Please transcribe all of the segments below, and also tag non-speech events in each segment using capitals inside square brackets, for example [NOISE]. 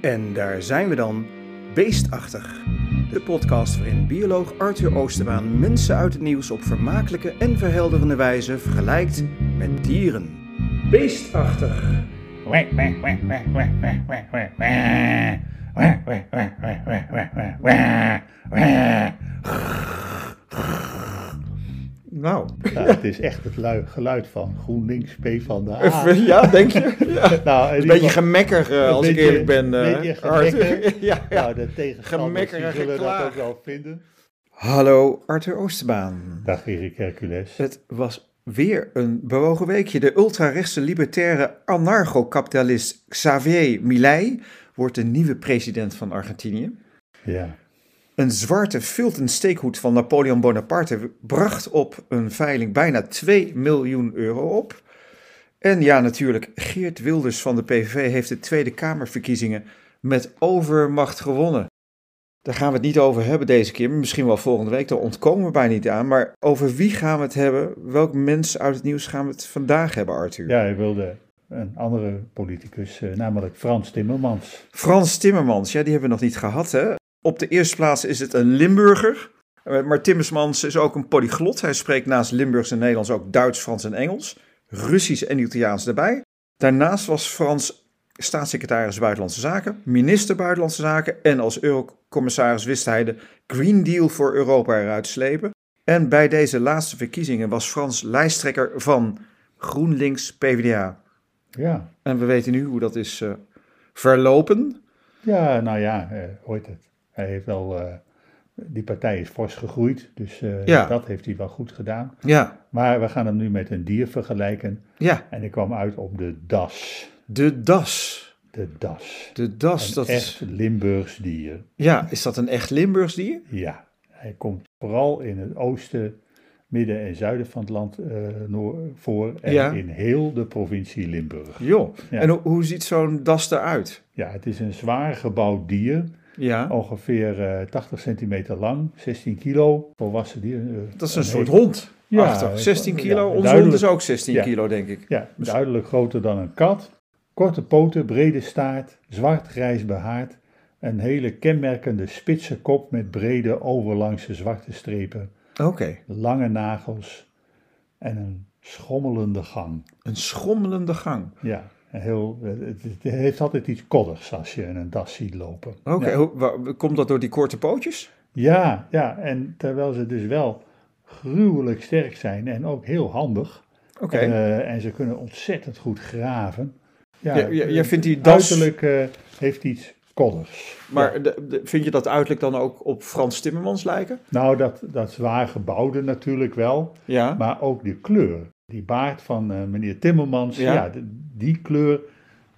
En daar zijn we dan, Beestachtig. De podcast waarin bioloog Arthur Oosterbaan mensen uit het nieuws op vermakelijke en verhelderende wijze vergelijkt met dieren. Beestachtig. Nou, Nou, Ja, het is echt het lui- geluid van GroenLinks P van de A. ja, denk [LAUGHS] je? Ja. Nou, Ah. Een beetje gemekker, eh, Een als ik beetje- eerlijk ben. eh, beetje Arthur. gemekker. [LAUGHS] ja, ja. Nou, de tegenstanders Gemekker en die zullen dat geklaag. ook wel vinden. Hallo, Arthur Oosterbaan. Dag Erik Hercules. Het was weer een bewogen weekje. De ultrarechtse libertaire anarcho-kapitalist Xavier Milei wordt de nieuwe president van Argentinië. Ja, Een zwarte filten steekhoed van Napoleon Bonaparte bracht op een veiling bijna 2 miljoen euro op. En ja, natuurlijk, Geert Wilders van de PVV heeft de Tweede Kamerverkiezingen met overmacht gewonnen. Daar gaan we het niet over hebben deze keer, maar misschien wel volgende week, daar ontkomen we bijna niet aan. Maar over wie gaan we het hebben? Welk mens uit het nieuws gaan we het vandaag hebben, Arthur? ja hij wilde een andere politicus, eh, namelijk Frans Timmermans. Frans Timmermans, ja, die hebben we nog niet gehad, hè? Op de eerste plaats is het een Limburger. Eh, Maar Timmermans is ook een polyglot. Hij spreekt naast Limburgs en Nederlands ook Duits, Frans en Engels. Russisch en Italiaans erbij. Daarnaast was Frans staatssecretaris Buitenlandse Zaken, minister Buitenlandse Zaken en als eurocommissaris wist hij de Green Deal voor Europa eruit te slepen. En bij deze laatste verkiezingen was Frans lijsttrekker van GroenLinks PvdA. Ja, En we weten nu hoe dat is eh, verlopen. ja nou ja, eh, ooit het. Hij heeft wel, eh, die partij is fors gegroeid, dus eh, Ja. dat heeft hij wel goed gedaan. Ja, Maar we gaan hem nu met een dier vergelijken ja. en ik kwam uit op de das. De das. De das. De das, Dus Een dat echt is... Limburgs dier. Ja, is dat een echt Limburgs dier? Ja, hij komt vooral in het oosten, midden en zuiden van het land eh, noor- voor en Ja. in heel de provincie Limburg. Joh. Ja. En ho- hoe ziet zo'n das eruit? Ja, het is een zwaar gebouwd dier, Ja, ongeveer eh, 80 centimeter lang, 16 kilo, volwassen dier. eh, dat is een soort hele- hond. Ja, Achtig. 16 ja, kilo. Onze hond duidelijk. is ook 16 Ja. kilo, denk ik. Ja, duidelijk groter dan een kat. Korte poten, brede staart, zwart-grijs behaard. Een hele kenmerkende spitse kop met brede overlangse zwarte strepen. Oké. Lange nagels en een schommelende gang. Een schommelende gang. Ja, een heel, het, het heeft altijd iets koddigs als je een das ziet lopen. Oké, Ja. hoe- wa- komt dat door die korte pootjes? Ja, ja, en terwijl ze dus wel gruwelijk sterk zijn en ook heel handig. Oké. eh, en ze kunnen ontzettend goed graven. Ja, Ja, ja, jij vindt die eh, das- Uiterlijk eh, heeft iets koddigs. maar Ja. de- de- vind je dat uiterlijk dan ook op Frans Timmermans lijken? Nou, dat, dat zwaar gebouwde natuurlijk wel. Ja. Maar ook de kleur. Die baard van eh, meneer Timmermans. Ja. Ja, d- die kleur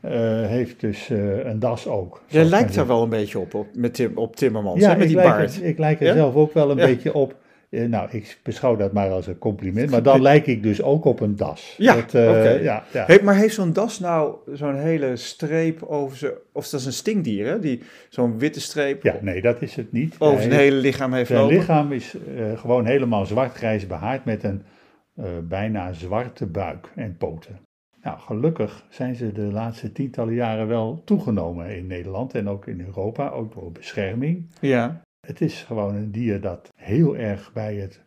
eh, heeft dus eh, een das ook. Jij zoals lijkt men daar wel een beetje op, op, met Tim, op Timmermans, Ja, hè, met ik die lijk baard. Er, ik lijk er Ja? zelf ook wel een Ja. beetje op. Eh, nou, ik beschouw dat maar als een [LAUGHS] compliment. Maar dan lijk ik dus ook op een das. Ja, Dat, eh, oké. ja, ja. Hey, maar heeft zo'n das nou zo'n hele streep over zijn... Of dat is een stinkdier, hè? Die zo'n witte streep ja, nee, dat is het niet. over Nee, zijn hele lichaam heeft zijn lopen? lichaam is eh, gewoon helemaal zwart-grijs behaard met een eh, bijna zwarte buik en poten. Nou, gelukkig zijn ze de laatste tientallen jaren wel toegenomen in Nederland en ook in Europa, ook door bescherming. Ja, Het is gewoon een dier dat heel erg bij het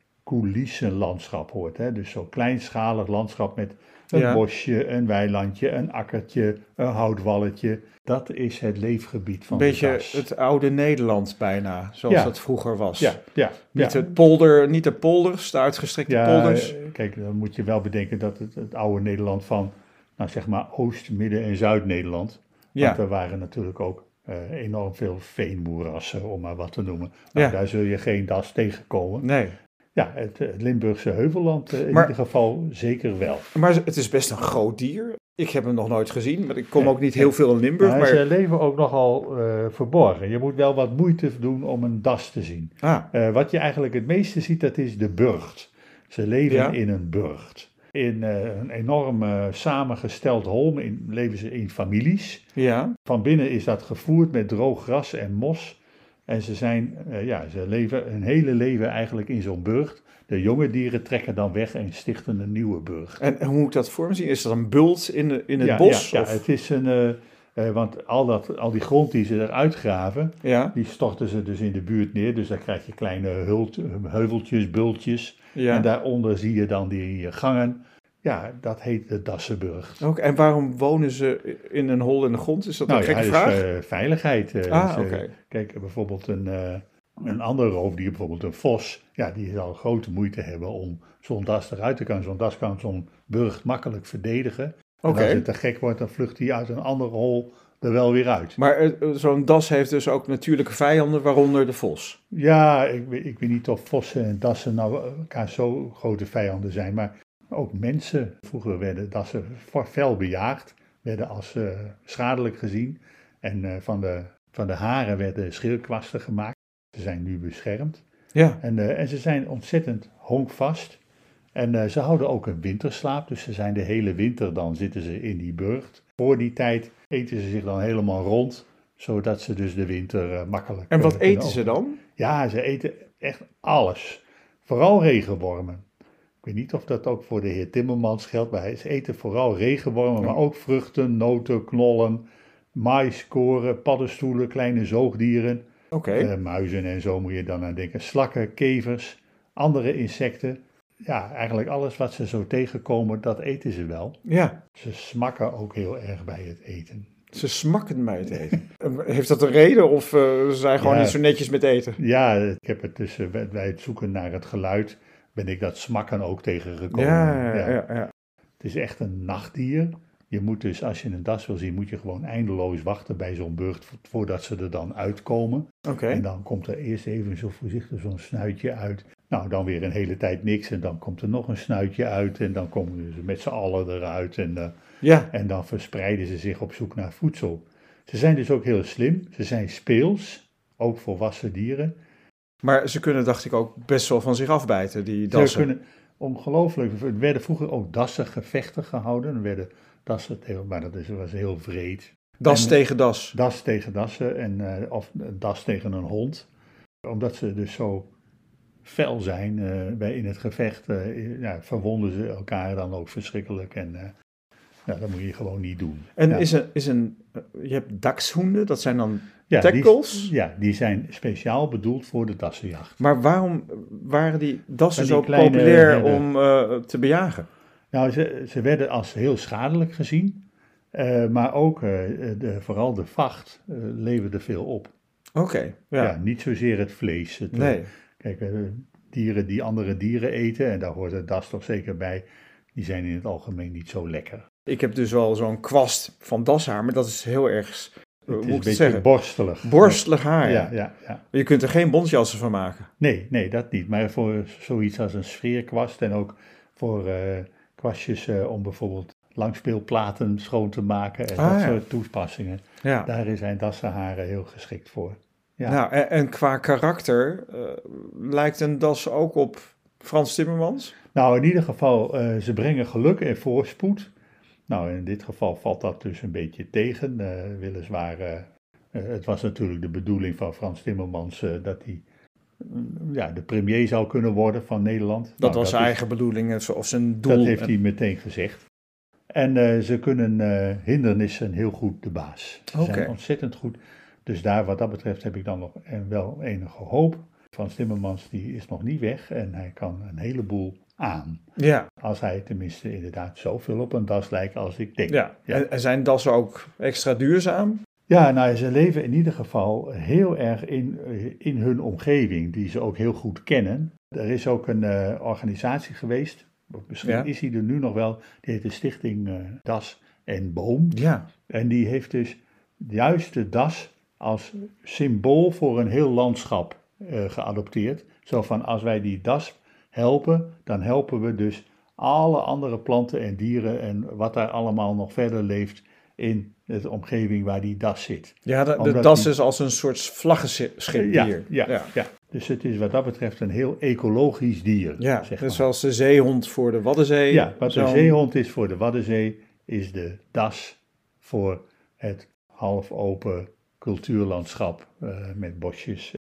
coulissenlandschap hoort. Hè? Dus zo'n kleinschalig landschap met een Ja. bosje, een weilandje, een akkertje, een houtwalletje. Dat is het leefgebied van een beetje de das. het oude Nederland bijna, zoals Oh, Ja. dat vroeger was. Ja, ja, Niet, ja. het polder, niet de polders, de uitgestrekte Ja, polders. eh, kijk, dan moet je wel bedenken dat het, het oude Nederland van, nou zeg maar, Oost, Midden en Zuid-Nederland. Ja, Want er waren natuurlijk ook eh, enorm veel veenmoerassen, om maar wat te noemen. Nou, Ja. daar zul je geen das tegenkomen. nee. Ja, het, het Limburgse heuvelland eh, in Maar- ieder geval zeker wel. Maar het is best een groot dier. Ik heb hem nog nooit gezien, maar ik kom Nee. ook niet heel veel in Limburg. Maar Maar, ze leven ook nogal eh, verborgen. Je moet wel wat moeite doen om een das te zien. ah, Eh, wat je eigenlijk het meeste ziet, dat is de burcht. Ze leven Ja. in een burcht. In eh, een enorm eh, samengesteld holm in, leven ze in families. ja, Van binnen is dat gevoerd met droog gras en mos. En ze, zijn, eh, ja, ze leven hun hele leven eigenlijk in zo'n burcht. De jonge dieren trekken dan weg en stichten een nieuwe burcht. en hoe moet ik dat voor me zien? Is dat een bult in, in het ja, bos? Ja, ja, of- het is een, eh, Eh, want al, dat, al die grond die ze eruit graven, Ja, die storten ze dus in de buurt neer. Dus daar krijg je kleine hult, eh, heuveltjes, bultjes. ja. En daaronder zie je dan die eh, gangen. Ja, dat heet de Dassenburg. Ook, en waarom wonen ze in een hol in de grond? Is dat een gekke ja, dus, vraag? eh, veiligheid. eh, ah, dus, oké. eh, Kijk, bijvoorbeeld een, eh een ander roofdier, bijvoorbeeld een vos. Ja, die zal grote moeite hebben om zo'n das eruit te kunnen. Zo'n das kan zo'n burg makkelijk verdedigen. Oké. En als het te gek wordt, dan vlucht hij uit een andere hol er wel weer uit. Maar eh, zo'n das heeft dus ook natuurlijke vijanden, waaronder de vos. Ja, ik, weet- ik weet niet of vossen en dassen nou elkaar zo grote vijanden zijn, maar ook mensen. Vroeger werden dassen fe- fel bejaagd, werden als eh, schadelijk gezien. En eh, van, de, van de haren werden schildkwasten gemaakt. Ze zijn nu beschermd. Ja. En, eh, en ze zijn ontzettend honkvast. En eh, ze houden ook een winterslaap, dus ze zijn de hele winter dan zitten ze in die burcht. Voor die tijd eten ze zich dan helemaal rond, zodat ze dus de winter eh, makkelijk En wat eh, kunnen eten ze dan? ja, ze eten echt alles. Vooral regenwormen. Ik weet niet of dat ook voor de heer Timmermans geldt, maar ze eten vooral regenwormen, maar ook vruchten, noten, knollen, mais, koren, paddenstoelen, kleine zoogdieren, Oké. eh, muizen en zo moet je dan aan denken. Slakken, kevers, andere insecten. Ja, eigenlijk alles wat ze zo tegenkomen, dat eten ze wel. Ja. Ze smakken ook heel erg bij het eten. Ze smakken mij het eten. Eh, Heeft dat een reden of eh, ze zijn gewoon Ja. niet zo netjes met eten? Ja, ik heb het dus eh, bij bij het zoeken naar het geluid ben ik dat smakken ook tegengekomen. Ja, ja, ja, ja. Het is echt een nachtdier. Je moet dus, als je een das wil zien, moet je gewoon eindeloos wachten bij zo'n burcht vo- voordat ze er dan uitkomen. Oké. En dan komt er eerst even zo voorzichtig zo'n snuitje uit. Nou, dan weer een hele tijd niks en dan komt er nog een snuitje uit en dan komen ze dus met z'n allen eruit en, eh, Ja. en dan verspreiden ze zich op zoek naar voedsel. Ze zijn dus ook heel slim, ze zijn speels, ook volwassen dieren. Maar ze kunnen, dacht ik, ook best wel van zich afbijten, die Ze dassen. kunnen ongelooflijk. Er werden vroeger ook dassengevechten gehouden. Er werden dassen tegen, maar dat is, was heel vreed. Das en- tegen das. Das tegen dassen en, eh, of das tegen een hond. Omdat ze dus zo fel zijn eh, bij, in het gevecht, eh, ja, verwonden ze elkaar dan ook verschrikkelijk. En eh, ja, dat moet je gewoon niet doen. En Ja. is, een, is een... eh, Je hebt dakshoenden, dat zijn dan Ja, tackles. Die, ja, die zijn speciaal bedoeld voor de dassenjacht. Maar waarom waren die dassen Van die zo kleine populair herden. om eh, te bejagen? Nou, ze, ze werden als heel schadelijk gezien, eh, maar ook eh, de, vooral de vacht eh, leverde veel op. Oké, Ja. ja. niet zozeer het vlees. Het, eh, Nee, Kijk, eh, dieren die andere dieren eten, en daar hoort het das toch zeker bij, die zijn in het algemeen niet zo lekker. ik heb dus wel zo'n kwast van dashaar, maar dat is heel erg, eh, hoe moet Het is ik een beetje het zeggen, borstelig. borstelig haar. Ja, Ja. ja, ja. Je kunt er geen bontjassen van maken. Nee, nee, dat niet. Maar voor zoiets als een sfeerkwast en ook voor eh, kwastjes eh, om bijvoorbeeld langspeelplaten schoon te maken en Ah, dat ja. soort toepassingen. Ja. Daar zijn dassenharen heel geschikt voor. Ja. Nou, en, en qua karakter eh, lijkt een das ook op Frans Timmermans. Nou, in ieder geval, eh, ze brengen geluk en voorspoed. Nou, in dit geval valt dat dus een beetje tegen. eh, weliswaar, eh, eh, het was natuurlijk de bedoeling van Frans Timmermans eh, dat hij mm, ja, de premier zou kunnen worden van Nederland. Dat Nou, was zijn is- eigen bedoeling of- of zijn doel. Dat heeft hij meteen gezegd. En eh, ze kunnen eh, hindernissen heel goed de baas. Ze Oké. zijn ontzettend goed. Dus daar wat dat betreft heb ik dan nog en wel enige hoop. Frans Timmermans die is nog niet weg en hij kan een heleboel aan. Ja, Als hij tenminste inderdaad zoveel op een das lijkt als ik denk. ja. Ja. En, en zijn dassen ook extra duurzaam? Ja, nou, ze leven in ieder geval heel erg in, eh, in hun omgeving, die ze ook heel goed kennen. Er is ook een eh, organisatie geweest, of misschien Ja. is die er nu nog wel, die heet de Stichting eh, Das en Boom. Ja. En die heeft dus juist de das als symbool voor een heel landschap eh, geadopteerd. Zo van als wij die das helpen, dan helpen we dus alle andere planten en dieren en wat daar allemaal nog verder leeft in de omgeving waar die das zit. Ja, de, de Omdat das die- is dus als een soort vlaggenschip ja, hier. ja, ja. Dus het is wat dat betreft een heel ecologisch dier. Ja, zeg net maar. zoals de zeehond voor de Waddenzee. ja wat de Zo'n- zeehond is voor de Waddenzee, is de das voor het half open cultuurlandschap eh, met bosjes.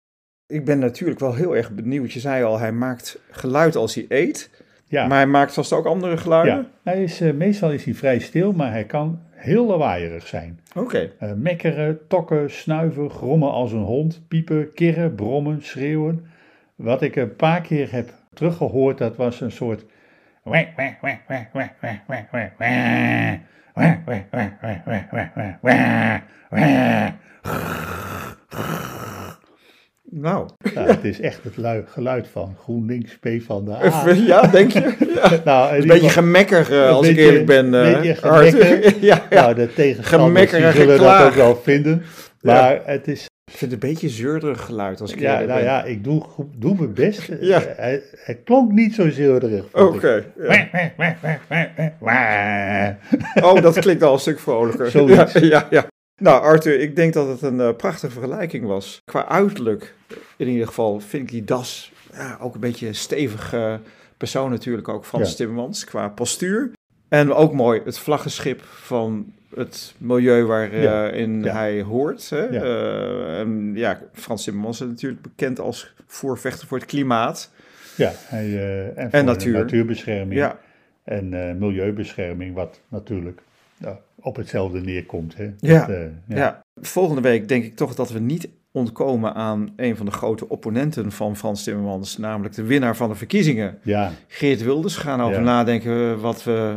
Ik ben natuurlijk wel heel erg benieuwd. Je zei al, hij maakt geluid als hij eet. Ja, Maar hij maakt vast ook andere geluiden. ja. Hij is, eh, meestal is hij vrij stil, maar hij kan heel lawaaierig zijn. Oké. Eh, mekkeren, tokken, snuiven, grommen als een hond, piepen, kirren, brommen, schreeuwen. Wat ik een paar keer heb teruggehoord, dat was een soort. wek, wek, wek, wek, wek, wek, wek, wek, wek. Wek, wek, wek, wek, wek, wek, wek, wek, wek. Nou. Nou, Het is echt het lui- geluid van GroenLinks P [LAUGHS] van de A. Ja, denk je? Ja. Nou, Ah. [LAUGHS] Een in ieder beetje geval- gemekker, eh, Een als ik beetje- eerlijk ben. eh, beetje Art. gemekker. [LAUGHS] ja, [LAUGHS] ja. Nou, de tegenstanders die Gemekker en zullen dat geklaag. ook wel vinden. Maar het is Ik vind het een beetje zeurderig geluid als ik Ja, eerlijk nou ben. ja, ik doe, goed- doe mijn best. Ja. Eh, Hij, hij klonk niet zo zeurderig. Oké. ja. Oh, dat klinkt al een stuk vrolijker. Zoiets. Ja, ja, ja. Nou, Arthur, ik denk dat het een eh, prachtige vergelijking was. Qua uiterlijk, in ieder geval, vind ik die das ja, ook een beetje een stevige persoon natuurlijk ook, Frans Ja. Timmermans, qua postuur. En ook mooi het vlaggenschip van het milieu Ja, waarin ja. hij hoort. Hè? Ja. Eh, en ja, Frans Timmermans is natuurlijk bekend als voorvechter voor het klimaat. Ja, hij, eh, en, voor En de natuur. natuurbescherming Ja, en eh, milieubescherming, wat natuurlijk ja, op hetzelfde neerkomt. Hè. Ja. Dat, eh, ja. Ja. volgende week denk ik toch dat we niet ontkomen aan een van de grote opponenten van Frans Timmermans, namelijk de winnaar van de verkiezingen, Ja. Geert Wilders. We gaan over Ja. nadenken wat we,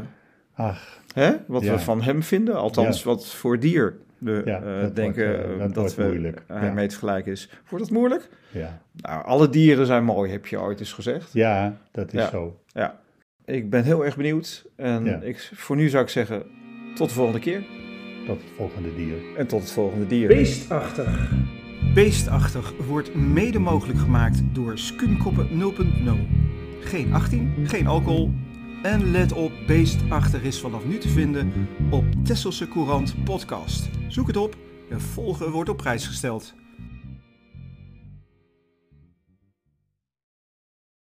ach, hè, wat Ja. we van hem vinden, althans wat voor dier we Ja, eh, dat denken wordt, eh, eh, dat dat, wordt we moeilijk. eh, Ja. mee te vergelijken is. Wordt dat moeilijk? ja. Nou, alle dieren zijn mooi, heb je ooit eens gezegd. ja, dat is Ja. zo. Ik ben heel erg benieuwd en Ja. ik, voor nu zou ik zeggen tot de volgende keer Tot het volgende dier. en tot het volgende dier. Beestachtig. Beestachtig wordt mede mogelijk gemaakt door Skumkoppen 0.0. Geen 18, geen alcohol. En let op, Beestachtig is vanaf nu te vinden op Tesselse Courant Podcast. Zoek het op en volgen wordt op prijs gesteld.